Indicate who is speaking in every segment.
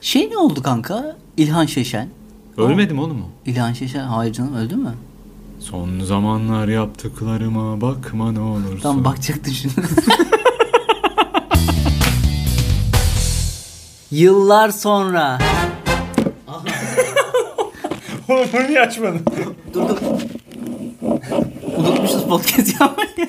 Speaker 1: Şey ne oldu kanka? İlhan Şeşen.
Speaker 2: Ölmedim oğlum mu?
Speaker 1: İlhan Şeşen hayır canım öldü mü?
Speaker 2: Son zamanlar yaptıklarıma bakma ne olursun.
Speaker 1: Tam bakacaktın şimdi. Yıllar sonra.
Speaker 3: Oğlum bunu niye açmadın?
Speaker 1: Dur dur. Unutmuşuz podcast yapmayı.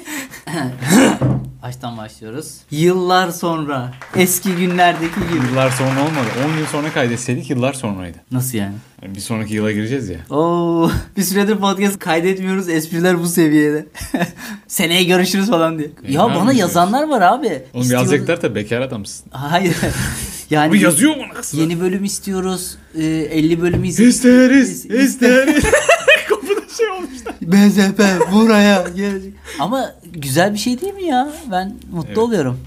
Speaker 1: Baştan başlıyoruz. Yıllar sonra. Eski günlerdeki gibi.
Speaker 2: Yıllar sonra olmadı. 10 yıl sonra kaydetseydik yıllar sonraydı.
Speaker 1: Nasıl yani?
Speaker 2: Yani bir sonraki yıla gireceğiz ya.
Speaker 1: Oo, bir süredir podcast kaydetmiyoruz. Espriler bu seviyede. Seneye görüşürüz falan diye.
Speaker 2: E,
Speaker 1: ya
Speaker 2: ne
Speaker 1: bana
Speaker 2: yapıyoruz?
Speaker 1: yazanlar var abi.
Speaker 2: Oğlum Hani
Speaker 1: İstiyordu-
Speaker 2: yazacaklar da bekar adamsın.
Speaker 1: Hayır.
Speaker 2: Bu
Speaker 1: Yani
Speaker 2: yazıyor mu nasıl?
Speaker 1: yeni bölüm istiyoruz. Ee, 50 bölümü istiyoruz.
Speaker 2: İsteriz, isteriz. Kapıda şey olmuş da.
Speaker 1: BZP buraya gelecek. Ama güzel bir şey değil mi ya? Ben mutlu
Speaker 2: Evet.
Speaker 1: oluyorum.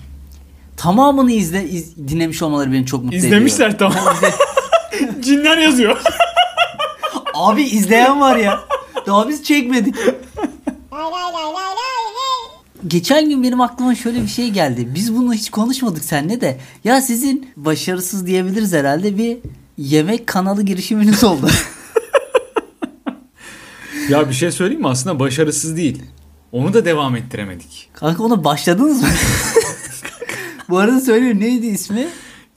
Speaker 1: Tamamını izle iz- dinlemiş olmaları beni çok mutlu ediyor.
Speaker 2: İzlemişler tamam. Cinler yazıyor.
Speaker 1: Abi izleyen var ya. Daha biz çekmedik. Geçen gün benim aklıma şöyle bir şey geldi. Biz bunu hiç konuşmadık seninle de. Ya sizin başarısız diyebiliriz herhalde bir yemek kanalı girişiminiz oldu.
Speaker 2: ya bir şey söyleyeyim mi? Aslında başarısız değil. Onu da devam ettiremedik.
Speaker 1: Kanka ona başladınız mı? Bu arada söyleyeyim neydi ismi?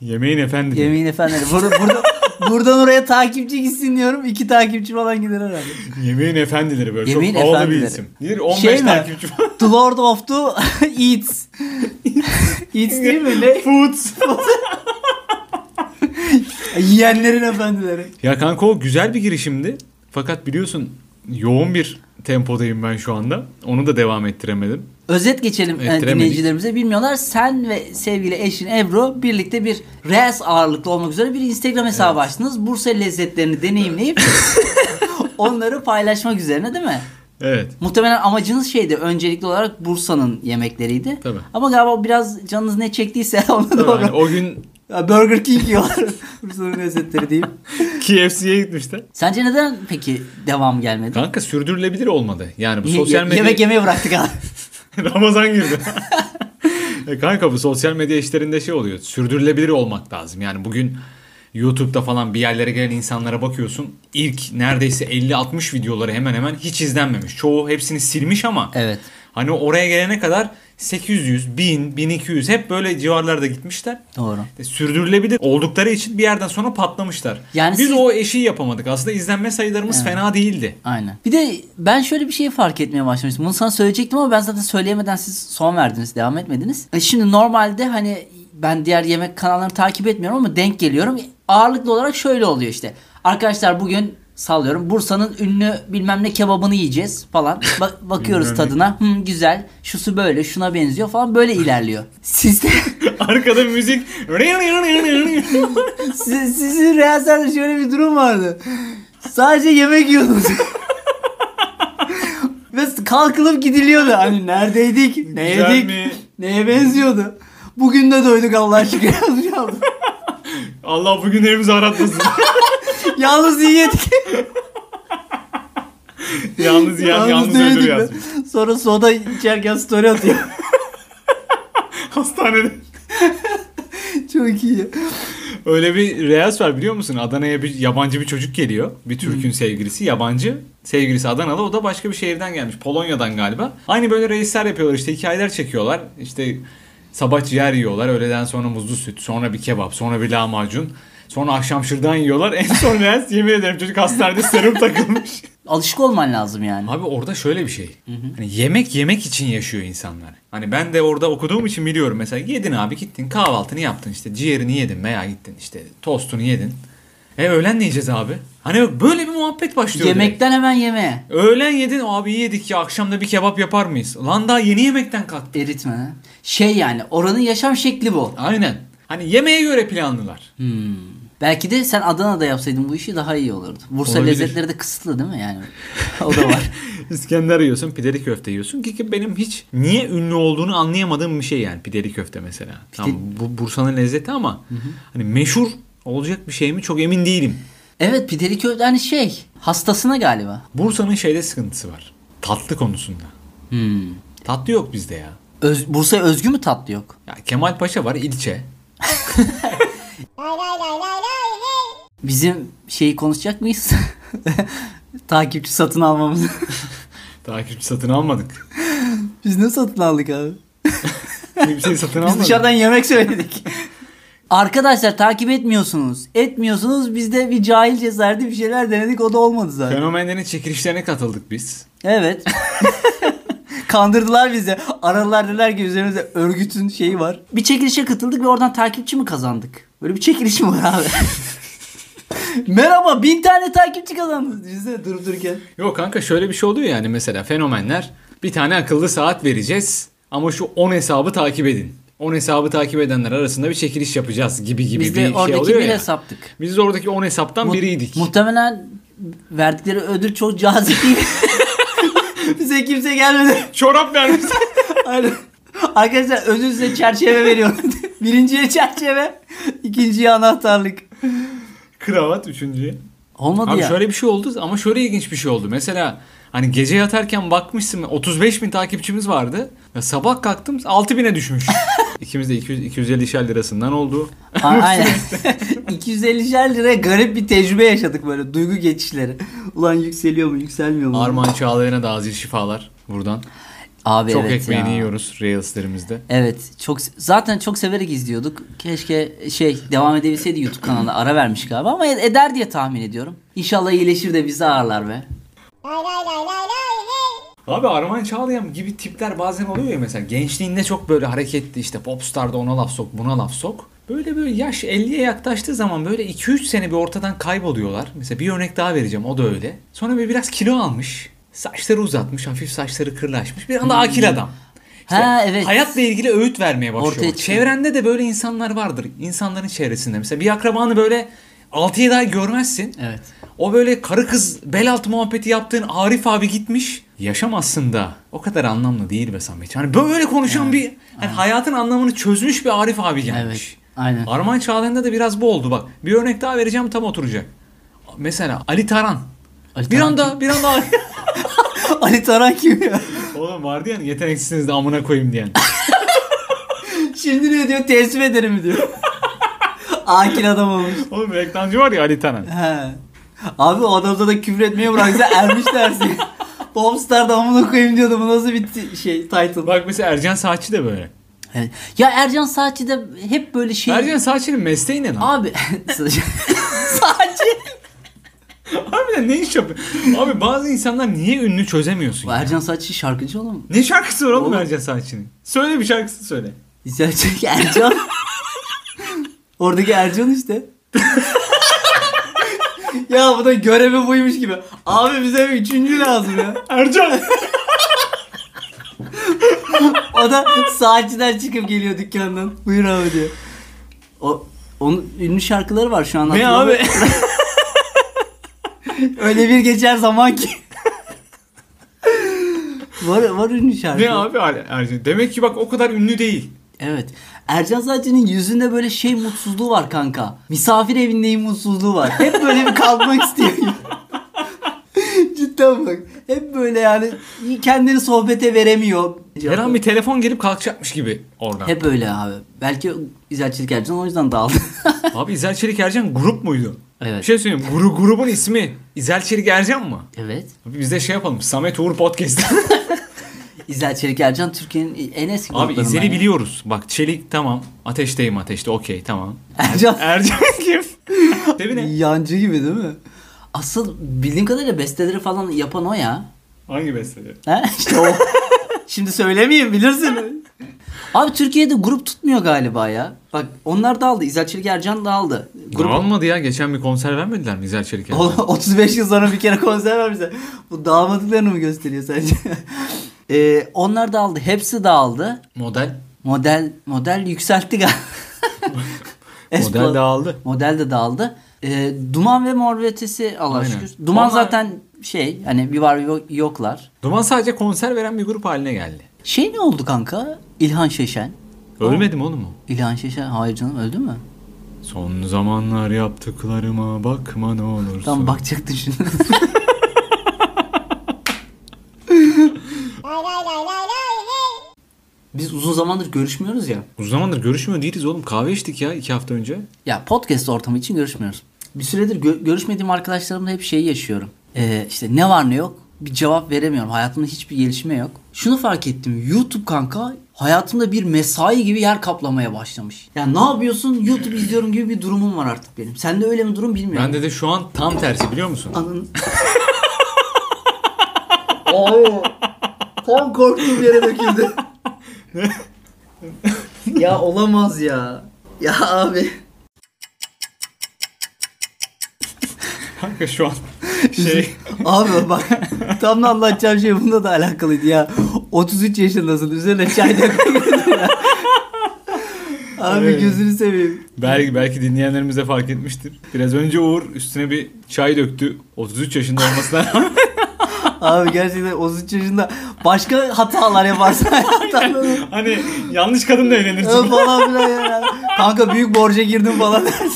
Speaker 2: Yemeğin efendi.
Speaker 1: Yemeğin Efendileri. Burada, burada, buradan oraya takipçi gitsin diyorum. İki takipçi falan gider herhalde.
Speaker 2: Yemeğin efendileri böyle
Speaker 1: Yemeğin
Speaker 2: çok havalı
Speaker 1: efendileri.
Speaker 2: bir isim. Nedir? 15
Speaker 1: Şey mi?
Speaker 2: takipçi falan.
Speaker 1: The Lord of the Eats. Eats değil mi? Ne?
Speaker 2: Foods.
Speaker 1: Yiyenlerin efendileri.
Speaker 2: Ya kanka o güzel bir girişimdi. Fakat biliyorsun yoğun bir tempodayım ben şu anda. Onu da devam ettiremedim.
Speaker 1: Özet geçelim e,
Speaker 2: Ettiremedik.
Speaker 1: dinleyicilerimize. Bilmiyorlar sen ve sevgili eşin Ebru birlikte bir res ağırlıklı olmak üzere bir Instagram hesabı açtınız. Bursa lezzetlerini deneyimleyip onları paylaşmak üzerine değil mi?
Speaker 2: Evet.
Speaker 1: Muhtemelen amacınız şeydi öncelikli olarak Bursa'nın yemekleriydi.
Speaker 2: Tabii.
Speaker 1: Ama galiba biraz canınız ne çektiyse ona
Speaker 2: Tabii
Speaker 1: doğru.
Speaker 2: hani o gün
Speaker 1: Ya Burger King yiyorlar. Bursa'nın lezzetleri diyeyim.
Speaker 2: KFC'ye gitmişler.
Speaker 1: Sence neden peki devam gelmedi?
Speaker 2: Kanka sürdürülebilir olmadı. Yani bu
Speaker 1: Ye-
Speaker 2: sosyal
Speaker 1: ye-
Speaker 2: medya...
Speaker 1: Yemek yemeye bıraktık abi.
Speaker 2: Ramazan girdi. E Kanka bu sosyal medya işlerinde şey oluyor. Sürdürülebilir olmak lazım. Yani bugün YouTube'da falan bir yerlere gelen insanlara bakıyorsun. İlk neredeyse 50-60 videoları hemen hemen hiç izlenmemiş. Çoğu hepsini silmiş ama
Speaker 1: Evet.
Speaker 2: hani oraya gelene kadar 800, 1000, 1200 hep böyle civarlarda gitmişler.
Speaker 1: Doğru.
Speaker 2: E, Sürdürülebilir oldukları için bir yerden sonra patlamışlar.
Speaker 1: Yani
Speaker 2: Biz
Speaker 1: siz-
Speaker 2: o eşiği yapamadık. Aslında izlenme sayılarımız fena değildi.
Speaker 1: Aynen. Bir de ben şöyle bir şey fark etmeye başlamıştım. Bunu sana söyleyecektim ama ben zaten söyleyemeden siz son verdiniz, devam etmediniz. E şimdi normalde hani ben diğer yemek kanallarını takip etmiyorum ama denk geliyorum. Ağırlıklı olarak şöyle oluyor işte. Arkadaşlar bugün sallıyorum Bursa'nın ünlü bilmem ne kebabını yiyeceğiz falan. Bak- bakıyoruz
Speaker 2: Bilmem ne.
Speaker 1: tadına. Hı, güzel. Şusu böyle, şuna benziyor falan böyle ilerliyor. Sizde
Speaker 2: Arkada müzik.
Speaker 1: Si- sizin Reels'lerde şöyle bir durum vardı. Sadece yemek yiyordunuz. Ve kalkılıp gidiliyordu. Hani neredeydik? Ne
Speaker 2: Güzel
Speaker 1: yedik?
Speaker 2: mi?
Speaker 1: Neye benziyordu? Bugün de doyduk Allah aşkına. Yalnız-
Speaker 2: Allah bugün evimizi aratmasın.
Speaker 1: yalnız iyi yedik.
Speaker 2: yalnız yiyen yalnız
Speaker 1: ne
Speaker 2: ölür
Speaker 1: yedik be?
Speaker 2: yazmış.
Speaker 1: Sonra soda içerken story atıyor.
Speaker 2: Hastanede.
Speaker 1: Çok iyi.
Speaker 2: Öyle bir reels var biliyor musun? Adana'ya bir yabancı bir çocuk geliyor. Bir Türk'ün sevgilisi yabancı. Sevgilisi Adanalı o da başka bir şehirden gelmiş. Polonya'dan galiba. Aynı böyle reisler yapıyorlar işte hikayeler çekiyorlar. İşte sabah ciğer yiyorlar. Öğleden sonra muzlu süt. Sonra bir kebap. Sonra bir lahmacun. Sonra akşam şırdan yiyorlar. En son reels yemin ederim çocuk hastanede serum takılmış.
Speaker 1: Alışık olman lazım yani.
Speaker 2: Abi orada şöyle bir şey. Hani yemek yemek için yaşıyor insanlar. Hani ben de orada okuduğum için biliyorum. Mesela yedin abi gittin kahvaltını yaptın işte ciğerini yedin veya gittin işte tostunu yedin. E öğlen ne yiyeceğiz abi? Hani yok, böyle bir muhabbet başlıyor. direkt.
Speaker 1: Yemekten hemen yemeğe.
Speaker 2: Öğlen yedin abi iyi yedik ya akşamda bir kebap yapar mıyız? Lan daha yeni yemekten kalktın.
Speaker 1: Eritme. ha. Şey yani oranın yaşam şekli bu.
Speaker 2: Aynen. Hani yemeğe göre planlılar.
Speaker 1: Hmm. Belki de sen Adana'da yapsaydın bu işi daha iyi olurdu. Bursa
Speaker 2: Olabilir.
Speaker 1: lezzetleri de kısıtlı değil mi yani? o da var.
Speaker 2: İskender yiyorsun, pideli köfte yiyorsun ki, ki benim hiç niye ünlü olduğunu anlayamadığım bir şey yani pideli köfte mesela. Tamam, bu Bursa'nın lezzeti ama hani meşhur olacak bir şey mi çok emin değilim.
Speaker 1: evet pideli köfte hani şey hastasına galiba.
Speaker 2: Bursa'nın şeyde sıkıntısı var. Tatlı konusunda.
Speaker 1: Hmm.
Speaker 2: Tatlı yok bizde ya.
Speaker 1: Öz, Bursa'ya özgü mü tatlı yok?
Speaker 2: Ya Kemal Paşa var ilçe.
Speaker 1: Bizim şeyi konuşacak mıyız? Takipçi satın almamız.
Speaker 2: Takipçi satın almadık.
Speaker 1: Biz ne satın aldık abi?
Speaker 2: Kimseyi satın
Speaker 1: Biz
Speaker 2: almadık.
Speaker 1: dışarıdan yemek söyledik. Arkadaşlar takip etmiyorsunuz. Etmiyorsunuz. Biz de bir cahil cesareti bir şeyler denedik. O da olmadı zaten.
Speaker 2: Fenomenlerin çekilişlerine katıldık biz.
Speaker 1: Evet. Kandırdılar bizi. Aradılar dediler ki üzerimizde örgütün şeyi var. Bir çekilişe katıldık ve oradan takipçi mi kazandık? Böyle bir çekiliş mi var abi? Merhaba bin tane takipçi kazandınız. Biz de durup dururken.
Speaker 2: Yok kanka şöyle bir şey oluyor yani mesela fenomenler bir tane akıllı saat vereceğiz ama şu 10 hesabı takip edin. 10 hesabı takip edenler arasında bir çekiliş yapacağız gibi gibi
Speaker 1: Biz
Speaker 2: bir
Speaker 1: de
Speaker 2: şey
Speaker 1: oradaki
Speaker 2: oluyor
Speaker 1: bir
Speaker 2: ya.
Speaker 1: hesaptık.
Speaker 2: Biz de oradaki 10 hesaptan
Speaker 1: Mu-
Speaker 2: biriydik.
Speaker 1: Muhtemelen verdikleri ödül çok cazip değil. Bize kimse gelmedi.
Speaker 2: Çorap vermiş.
Speaker 1: Aynen. Arkadaşlar ödül size çerçeve veriyor. Birinciye çerçeve, ikinciye anahtarlık.
Speaker 2: Kravat üçüncüye.
Speaker 1: Olmadı
Speaker 2: Abi
Speaker 1: ya.
Speaker 2: şöyle bir şey oldu ama şöyle ilginç bir şey oldu. Mesela hani gece yatarken bakmışsın 35 bin takipçimiz vardı. Ya sabah kalktım 6 bine düşmüş. İkimiz de 200, 250 lirasından oldu.
Speaker 1: A- Aynen. 250'şer liraya garip bir tecrübe yaşadık böyle duygu geçişleri. Ulan yükseliyor mu yükselmiyor mu?
Speaker 2: Armağan Çağlayan'a da acil şifalar buradan.
Speaker 1: Abi
Speaker 2: Çok
Speaker 1: evet
Speaker 2: ekmeğini
Speaker 1: ya.
Speaker 2: yiyoruz Reels'lerimizde.
Speaker 1: Evet. Çok zaten çok severek izliyorduk. Keşke şey devam edebilseydi YouTube kanalı ara vermiş galiba ama eder diye tahmin ediyorum. İnşallah iyileşir de bizi ağırlar be.
Speaker 2: Abi Armağan Çağlayan gibi tipler bazen oluyor ya mesela gençliğinde çok böyle hareketli işte popstarda ona laf sok buna laf sok. Böyle böyle yaş 50'ye yaklaştığı zaman böyle 2-3 sene bir ortadan kayboluyorlar. Mesela bir örnek daha vereceğim o da öyle. Sonra bir biraz kilo almış. Saçları uzatmış, hafif saçları kırlaşmış. Bir anda akil adam. İşte
Speaker 1: Hmm. Ha, evet.
Speaker 2: Hayatla ilgili öğüt vermeye başlıyor.
Speaker 1: Ortaya çıkıyor.
Speaker 2: Çevrende de böyle insanlar vardır. İnsanların çevresinde. Mesela bir akrabanı böyle 6-7 ay görmezsin.
Speaker 1: Evet.
Speaker 2: O böyle karı kız bel altı muhabbeti yaptığın Arif abi gitmiş. Yaşam aslında o kadar anlamlı değil be Samet. Hani böyle konuşan bir hani hayatın anlamını çözmüş bir Arif abi gelmiş.
Speaker 1: Evet. Aynen.
Speaker 2: Arman Çağlayan'da da biraz bu oldu bak. Bir örnek daha vereceğim tam oturacak. Mesela Ali Taran.
Speaker 1: Ali
Speaker 2: bir
Speaker 1: Taran
Speaker 2: anda bir anda
Speaker 1: Ali Taran kim ya?
Speaker 2: Oğlum vardı yani yeteneksizsiniz de amına koyayım diyen.
Speaker 1: Şimdi ne diyor? Teslim ederim diyor. Akil adam olmuş.
Speaker 2: Oğlum reklamcı var ya Ali Taran.
Speaker 1: He. Abi o adamda da küfür etmeye bıraksa ermiş dersin. Popstar da amına koyayım diyordu. Bu nasıl bir ti- şey title?
Speaker 2: Bak mesela Ercan Saatçi de böyle.
Speaker 1: Evet. Ya Ercan Saatçi de hep böyle şey...
Speaker 2: Ercan Saatçi'nin mesleği ne lan?
Speaker 1: Abi Saatçi.
Speaker 2: Harbiden ne iş yapıyor? Abi bazı insanlar niye ünlü çözemiyorsun? ya?
Speaker 1: Ercan Saatçi şarkıcı oğlum.
Speaker 2: Ne şarkısı var oğlum
Speaker 1: Oğlum.
Speaker 2: Ercan Saatçı'nın? Söyle bir şarkısını söyle.
Speaker 1: İzleyecek Ercan. Oradaki Ercan işte. ya bu da görevi buymuş gibi. Abi bize bir üçüncü lazım ya.
Speaker 2: Ercan!
Speaker 1: O da saatçiden çıkıp geliyor dükkandan. Buyur abi diyor. O onun ünlü şarkıları var şu an.
Speaker 2: ne abi?
Speaker 1: hatırlamıyorum. Öyle bir geçer zaman ki. var var ünlü şarkı.
Speaker 2: ne abi Er- Ercan? Demek ki bak o kadar ünlü değil.
Speaker 1: Evet. Ercan Saatçı'nın yüzünde böyle şey mutsuzluğu var kanka. Misafir evindeyim mutsuzluğu var. Hep böyle bir kalkmak istiyor. Cidden bak. Hep böyle yani kendini sohbete veremiyor.
Speaker 2: Her an bir telefon gelip kalkacakmış gibi oradan.
Speaker 1: Hep öyle abi. Belki İzelçilik Ercan o yüzden dağıldı.
Speaker 2: Abi İzel Çelik Ercan grup muydu?
Speaker 1: Evet.
Speaker 2: Bir şey söyleyeyim. Gru, grubun ismi İzel Çelik Ercan mı?
Speaker 1: evet.
Speaker 2: Abi biz de şey yapalım. Samet Uğur Podcast.
Speaker 1: İzel Çelik Ercan Türkiye'nin en eski
Speaker 2: abi
Speaker 1: gruplarından
Speaker 2: İzel'i
Speaker 1: ya.
Speaker 2: biliyoruz. Bak Çelik tamam. Ateşteyim ateşte. Okey tamam.
Speaker 1: Ercan
Speaker 2: Ercan kim? Sevi ne?
Speaker 1: yancı gibi değil mi? Asıl bildiğim kadarıyla besteleri falan yapan o ya.
Speaker 2: Hangi besteci?
Speaker 1: He? İşte o. Şimdi söylemeyeyim bilirsin. Abi Türkiye'de grup tutmuyor galiba ya. Bak onlar da aldı. İzel Çelik Ercan da aldı. Grup...
Speaker 2: Almadı ya. Geçen bir konser vermediler mi İzel Çelik Ercan?
Speaker 1: O- 35 yıl sonra bir kere konser vermişler. Bu damadıklarını mı gösteriyor sence? Ee, onlar da aldı. Hepsi de aldı.
Speaker 2: Model.
Speaker 1: Model model yükseltti galiba.
Speaker 2: Model dağıldı.
Speaker 1: Model de dağıldı. Ee, Duman ve Mor ve Ötesi Allah
Speaker 2: Aynen.
Speaker 1: şükür. Duman
Speaker 2: Onlar-
Speaker 1: zaten şey hani bir var bir yok- yoklar.
Speaker 2: Duman sadece konser veren bir grup haline geldi.
Speaker 1: Şey ne oldu kanka? İlhan Şeşen.
Speaker 2: Ölmedim oğlum mu?
Speaker 1: İlhan Şeşen hayır canım öldü mü?
Speaker 2: Son zamanlar yaptıklarıma bakma ne olursun.
Speaker 1: Tam bakacaktım şimdi. Biz uzun zamandır görüşmüyoruz ya.
Speaker 2: Uzun zamandır görüşmüyor değiliz oğlum. Kahve içtik ya iki hafta önce.
Speaker 1: Ya podcast ortamı için görüşmüyoruz. bir süredir gö- görüşmediğim arkadaşlarımla hep şeyi yaşıyorum. Ee, işte ne var ne yok bir cevap veremiyorum. Hayatımda hiçbir gelişme yok. Şunu fark ettim. YouTube kanka hayatımda bir mesai gibi yer kaplamaya başlamış. Yani ne yapıyorsun? YouTube izliyorum gibi bir durumum var artık benim. Sende öyle mi durum bilmiyorum.
Speaker 2: Bende de şu an tam tersi biliyor musun?
Speaker 1: Anın... Abi tam korktuğum yere döküldü. ya olamaz ya. Ya abi.
Speaker 2: Kanka şu an şey
Speaker 1: Abi bak tam da anlatacağım şey bunda da alakalıydı ya. 33 yaşındasın üzerine çay döküldü ya. Abi
Speaker 2: Evet.
Speaker 1: gözünü seveyim.
Speaker 2: belki belki dinleyenlerimiz de fark etmiştir. Biraz önce Uğur üstüne bir çay döktü. 33 yaşında olmasına rağmen
Speaker 1: Abi gerçekten 33 yaşında başka hatalar yaparsın hayatında.
Speaker 2: hani yanlış kadınla evlenirsin.
Speaker 1: Ö falan filan ya. Kanka büyük borca girdim falan dersin.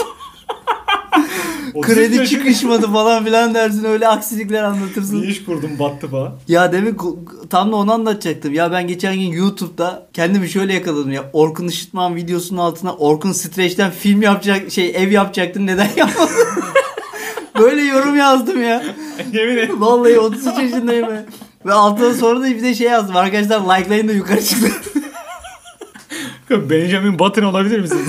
Speaker 2: 33
Speaker 1: Kredi
Speaker 2: yaşında
Speaker 1: çıkışmadı falan filan dersin. Öyle aksilikler
Speaker 2: bir
Speaker 1: anlatırsın.
Speaker 2: iş kurdum battı falan.
Speaker 1: Ya demin ku- tam da onu anlatacaktım. Ya ben geçen gün YouTube'da kendimi şöyle yakaladım ya. Orkun Işıtman videosunun altına Orkun Streç'ten film yapacak şey ev yapacaktın neden yapmadın? Böyle yorum yazdım ya.
Speaker 2: Yemin et.
Speaker 1: Vallahi 33 yaşındayım ben. Ve altına sonra da bir de şey yazdım. Arkadaşlar likelayın da yukarı çıktı.
Speaker 2: Benjamin Button olabilir misin?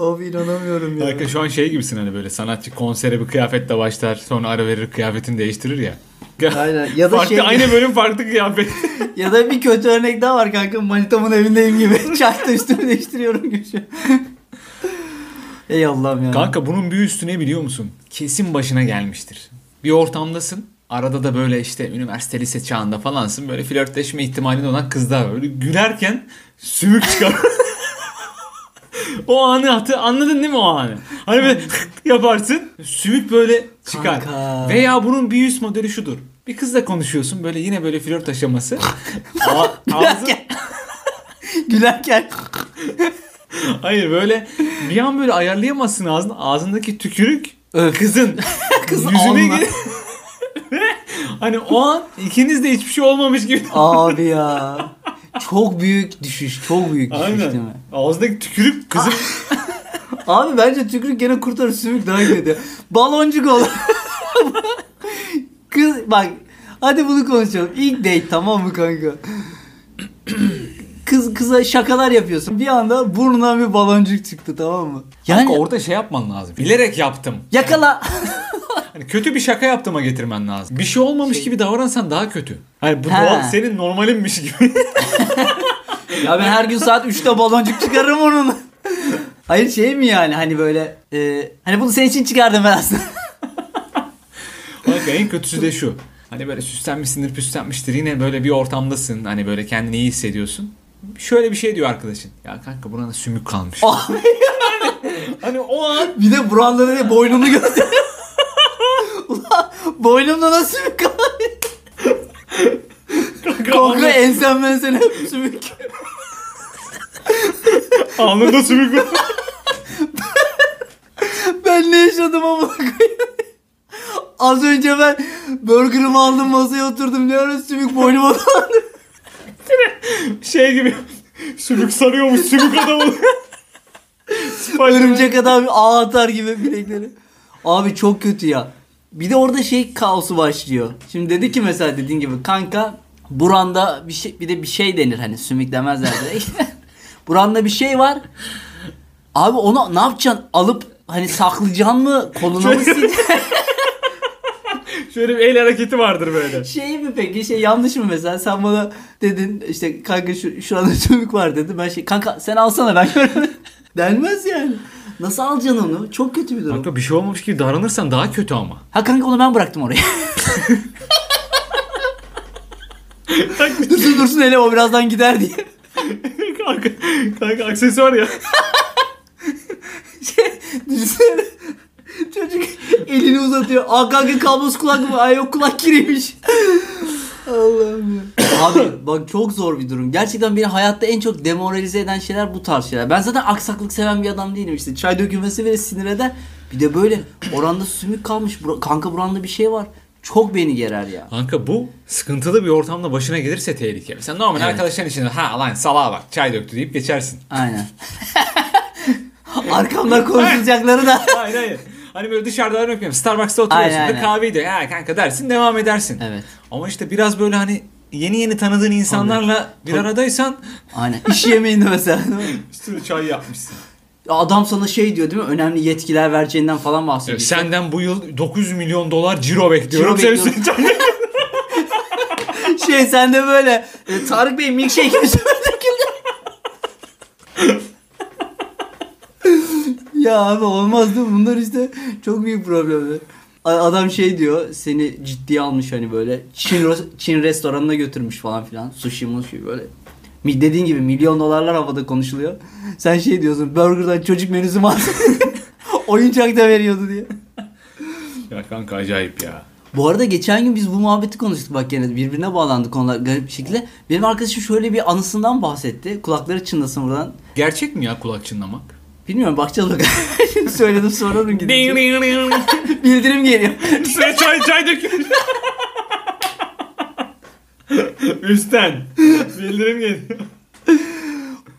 Speaker 1: Abi inanamıyorum ya.
Speaker 2: Kanka şu an şey gibisin hani böyle sanatçı konsere bir kıyafetle başlar sonra ara verir kıyafetini değiştirir ya.
Speaker 1: Aynen. Ya da
Speaker 2: farklı,
Speaker 1: şey-
Speaker 2: Aynı bölüm farklı kıyafet.
Speaker 1: Ya da bir kötü örnek daha var kanka. Manitamın evindeyim gibi. Çarkta üstümü değiştiriyorum gibi. şu. Ey Allah'ım ya.
Speaker 2: Kanka bunun bir üstü ne biliyor musun? Kesin başına gelmiştir. Bir ortamdasın. Arada da böyle işte üniversite lise çağında falansın. Böyle flörtleşme ihtimalin olan kızlar var. Böyle gülerken sümük çıkar. o anı hatı anladın değil mi o anı? Hani böyle yaparsın. Sümük böyle çıkar.
Speaker 1: Kanka.
Speaker 2: Veya bunun bir üst modeli şudur. Bir kızla konuşuyorsun böyle yine böyle flört aşaması. A- ağzı,
Speaker 1: Gülerken.
Speaker 2: hayır böyle bir an böyle ayarlayamazsın ağzını. Ağzındaki tükürük
Speaker 1: Öf.
Speaker 2: kızın
Speaker 1: Kızın
Speaker 2: yüzüne
Speaker 1: alnına.
Speaker 2: gir- hani o an ikiniz de hiçbir şey olmamış gibi.
Speaker 1: Abi ya. Çok büyük düşüş. Çok büyük düşüş değil mi?
Speaker 2: Ağızdaki tükürük kızım.
Speaker 1: Abi bence tükürük gene kurtarır. Sümük daha kötü. Baloncuk ol. Kız bak. Hadi bunu konuşalım. İlk date tamam mı kanka? Kız kıza şakalar yapıyorsun. Bir anda burnundan bir baloncuk çıktı tamam mı?
Speaker 2: Yani orada şey yapman lazım. Bilerek yaptım.
Speaker 1: Yakala.
Speaker 2: Hani kötü bir şaka yaptığıma getirmen lazım. Bir şey olmamış gibi davransan daha kötü. Hani bu
Speaker 1: Ha.
Speaker 2: doğal senin normalinmiş gibi.
Speaker 1: ya ben her gün saat 3'te baloncuk çıkarırım onun. Hayır şey mi yani hani böyle e, hani bunu senin için çıkardım ben aslında.
Speaker 2: Kanka en kötüsü de şu. Hani böyle süslenmişsindir püslenmiştir yine böyle bir ortamdasın. Hani böyle kendini iyi hissediyorsun. Şöyle bir şey diyor arkadaşın. Ya kanka buranın sümük kalmış.
Speaker 1: Abi.
Speaker 2: hani o an
Speaker 1: bir de buraları da boynunu gösteriyor. Ulan boynumda nasıl bir kalay? Kanka ensem mensem hep sümük.
Speaker 2: anında sümük var.
Speaker 1: Ben ne yaşadım ama Az önce ben burgerımı aldım masaya oturdum. Ne ara sümük boynuma dolandı.
Speaker 2: şey gibi sümük sarıyormuş sümük adam oluyor. Spider-Man.
Speaker 1: Örümcek adam ağ atar gibi bilekleri. Abi çok kötü ya. Bir de orada şey kaosu başlıyor. Şimdi dedi ki mesela dediğin gibi kanka buranda bir şey bir de bir şey denir hani sümük demezler direkt. buranda bir şey var. Abi onu ne yapacaksın? Alıp hani saklayacaksın mı? Koluna mı sileceksin?
Speaker 2: Şöyle bir el hareketi vardır böyle.
Speaker 1: Şey mi peki şey yanlış mı mesela sen bana dedin işte kanka şu, şurada çubuk var dedi ben şey kanka sen alsana ben görmedim. Denmez yani. Nasıl alacaksın onu? Çok kötü bir durum.
Speaker 2: Kanka bir şey olmamış gibi davranırsan daha kötü ama.
Speaker 1: Ha kanka onu ben bıraktım oraya. dursun dursun hele o birazdan gider diye.
Speaker 2: kanka, kanka aksesuar ya.
Speaker 1: Şey, düşünsene. Çocuk elini uzatıyor. Aa kanka kablosuz kulak mı? Ay yok kulak kiriymiş. Allah'ım ya. Abi bak çok zor bir durum. Gerçekten beni hayatta en çok demoralize eden şeyler bu tarz şeyler. Ben zaten aksaklık seven bir adam değilim işte. Çay dökülmesi bile sinir eder. Bir de böyle oranda sümük kalmış. Bura- Kanka buranda bir şey var. Çok beni gerer ya.
Speaker 2: Kanka bu sıkıntılı bir ortamda başına gelirse tehlikeli. Sen normal arkadaşların içinde ha lan salağa bak çay döktü deyip geçersin.
Speaker 1: Aynen. Arkamdan konuşulacakları da.
Speaker 2: Hayır hayır. Hani böyle dışarıda örnek veriyorum. Starbucks'ta oturuyorsun
Speaker 1: Aynen,
Speaker 2: da
Speaker 1: aynen.
Speaker 2: kahveyi de ya kanka dersin devam edersin.
Speaker 1: Evet.
Speaker 2: Ama işte biraz böyle hani yeni yeni tanıdığın insanlarla bir aradaysan
Speaker 1: Aynen. İş yemeğinde mesela. değil mi?
Speaker 2: üstüne çay yapmışsın.
Speaker 1: Adam sana şey diyor değil mi? Önemli yetkiler vereceğinden falan bahsediyor.
Speaker 2: Senden bu yıl 900 milyon dolar ciro bekliyorum.
Speaker 1: Ciro
Speaker 2: Sen üstüne çay
Speaker 1: şey sen de böyle e, Tarık Bey milkshake üstüme döküldü. ya abi olmaz değil mi? Bunlar işte çok büyük problemler. A- Adam şey diyor seni ciddiye almış hani böyle Çin, ro- Çin restoranına götürmüş falan filan. Sushi mushi böyle. Mi- Dediğin gibi milyon dolarlar havada konuşuluyor. Sen şey diyorsun burgerdan çocuk menüsü var. Oyuncak da veriyordu diye.
Speaker 2: Ya kanka acayip ya.
Speaker 1: Bu arada geçen gün biz bu muhabbeti konuştuk bak gene birbirine bağlandı konular garip bir şekilde. Benim arkadaşım şöyle bir anısından bahsetti. Kulakları çınlasın buradan.
Speaker 2: Gerçek mi ya kulak çınlamak?
Speaker 1: Bilmiyorum bakacağız bakalım. Şimdi Söyledim sorarım gidince. Bildirim geliyor.
Speaker 2: Üstüne çay çay dökülmüş. Üstten. Bildirim geliyor.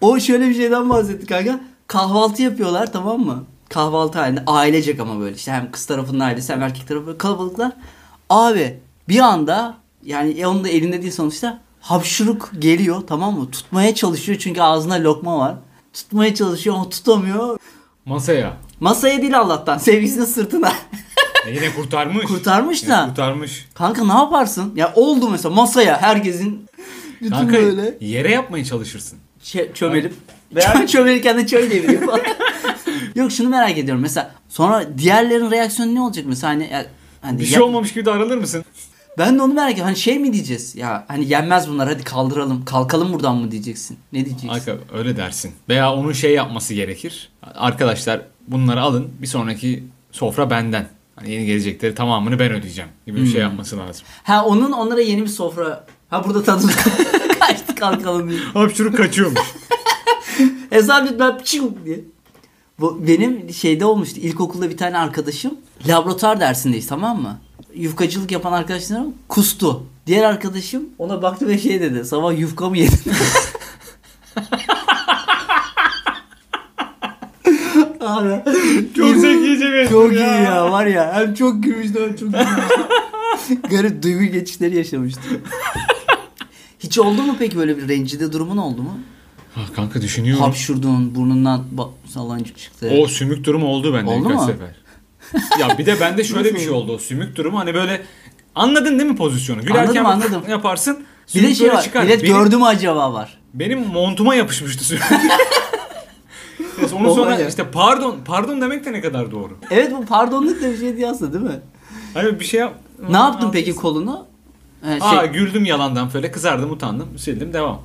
Speaker 1: O şöyle bir şeyden bahsetti kanka. Kahvaltı yapıyorlar tamam mı? Kahvaltı halinde ailecek ama böyle işte hem kız tarafının ailesi hem erkek tarafı böyle kalabalıklar. Abi bir anda yani e, onun da elinde değil sonuçta hapşuruk geliyor tamam mı? Tutmaya çalışıyor çünkü ağzında lokma var. Tutmaya çalışıyor ama tutamıyor.
Speaker 2: Masaya.
Speaker 1: Masaya değil Allah'tan sevgisinin sırtına.
Speaker 2: E yine kurtarmış.
Speaker 1: Kurtarmış
Speaker 2: Yine
Speaker 1: da.
Speaker 2: Kurtarmış.
Speaker 1: Kanka ne yaparsın? Ya oldu mesela masaya herkesin bütün
Speaker 2: Kanka
Speaker 1: böyle
Speaker 2: yere yapmaya çalışırsın.
Speaker 1: çe- çömelip Çö- çömelirken de çöl deviriyor falan. Yok şunu merak ediyorum mesela sonra diğerlerin reaksiyonu ne olacak mesela hani, ya- hani
Speaker 2: Bir
Speaker 1: ya-
Speaker 2: şey olmamış gibi davranır mısın?
Speaker 1: ben de onu merak ediyorum hani şey mi diyeceğiz ya hani yenmez bunlar hadi kaldıralım kalkalım buradan mı diyeceksin ne diyeceksin?
Speaker 2: Kanka öyle dersin. Veya onun şey yapması gerekir. Arkadaşlar bunları alın. Bir sonraki sofra benden. Hani yeni gelecekleri tamamını ben ödeyeceğim gibi
Speaker 1: Hmm.
Speaker 2: bir şey yapması lazım.
Speaker 1: Ha onun onlara yeni bir sofra ha burada tadımız kaçtı kalkalım diye.
Speaker 2: Hapşuruk kaçıyormuş.
Speaker 1: Hesap lütfen piçim şey diye. Bu benim şeyde olmuştu. İlkokulda bir tane arkadaşım laboratuvar dersindeyiz tamam mı? Yufkacılık yapan arkadaşlarım kustu. Diğer arkadaşım ona baktı ve şey dedi. Sabah yufka mı yedin? Abi.
Speaker 2: Çok zekice bir şey
Speaker 1: Çok iyi
Speaker 2: espri
Speaker 1: ya var ya. Hem çok gülmüştü hem çok gülmüştü. Garip duygu geçişleri yaşamıştı. Hiç oldu mu peki böyle bir rencide durumun oldu mu?
Speaker 2: Ah, kanka düşünüyorum.
Speaker 1: hapşurdun, burnundan ba- salancık çıktı.
Speaker 2: O sümük durumu oldu bende
Speaker 1: Oldu
Speaker 2: birkaç
Speaker 1: mu?
Speaker 2: sefer. ya bir de bende şöyle bir şey oldu. O sümük durumu hani böyle anladın değil mi pozisyonu? Gülerken
Speaker 1: Anladım, anladım.
Speaker 2: yaparsın.
Speaker 1: bir
Speaker 2: sümük
Speaker 1: de şey
Speaker 2: böyle
Speaker 1: var.
Speaker 2: çıkar.
Speaker 1: Millet
Speaker 2: benim,
Speaker 1: gördü mü acaba var.
Speaker 2: benim montuma yapışmıştı sümük. Neyse, Onun
Speaker 1: O
Speaker 2: sonra
Speaker 1: öyle.
Speaker 2: işte pardon, pardon demek de ne kadar doğru.
Speaker 1: Evet bu pardonluk da bir şey diye aslında değil mi?
Speaker 2: Hani bir şey yap.
Speaker 1: ne yaptın peki kolunu? Ee, şey-
Speaker 2: Aa güldüm yalandan böyle kızardım utandım sildim devam.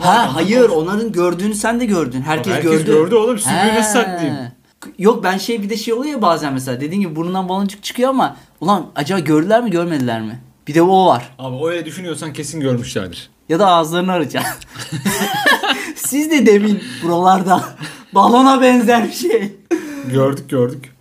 Speaker 1: ha hayır onların gördüğünü sen de gördün. Herkes,
Speaker 2: Herkes gördü oğlum, sümüğü nasıl saklayayım?
Speaker 1: Yok ben şey bir de şey oluyor ya bazen mesela dediğin gibi burnundan baloncuk çıkıyor ama ulan acaba gördüler mi görmediler mi? Bir de o var.
Speaker 2: Abi öyle düşünüyorsan kesin görmüşlerdir.
Speaker 1: Ya da ağızlarını arayacaksın. Siz de demin buralarda balona benzer bir şey.
Speaker 2: Gördük gördük.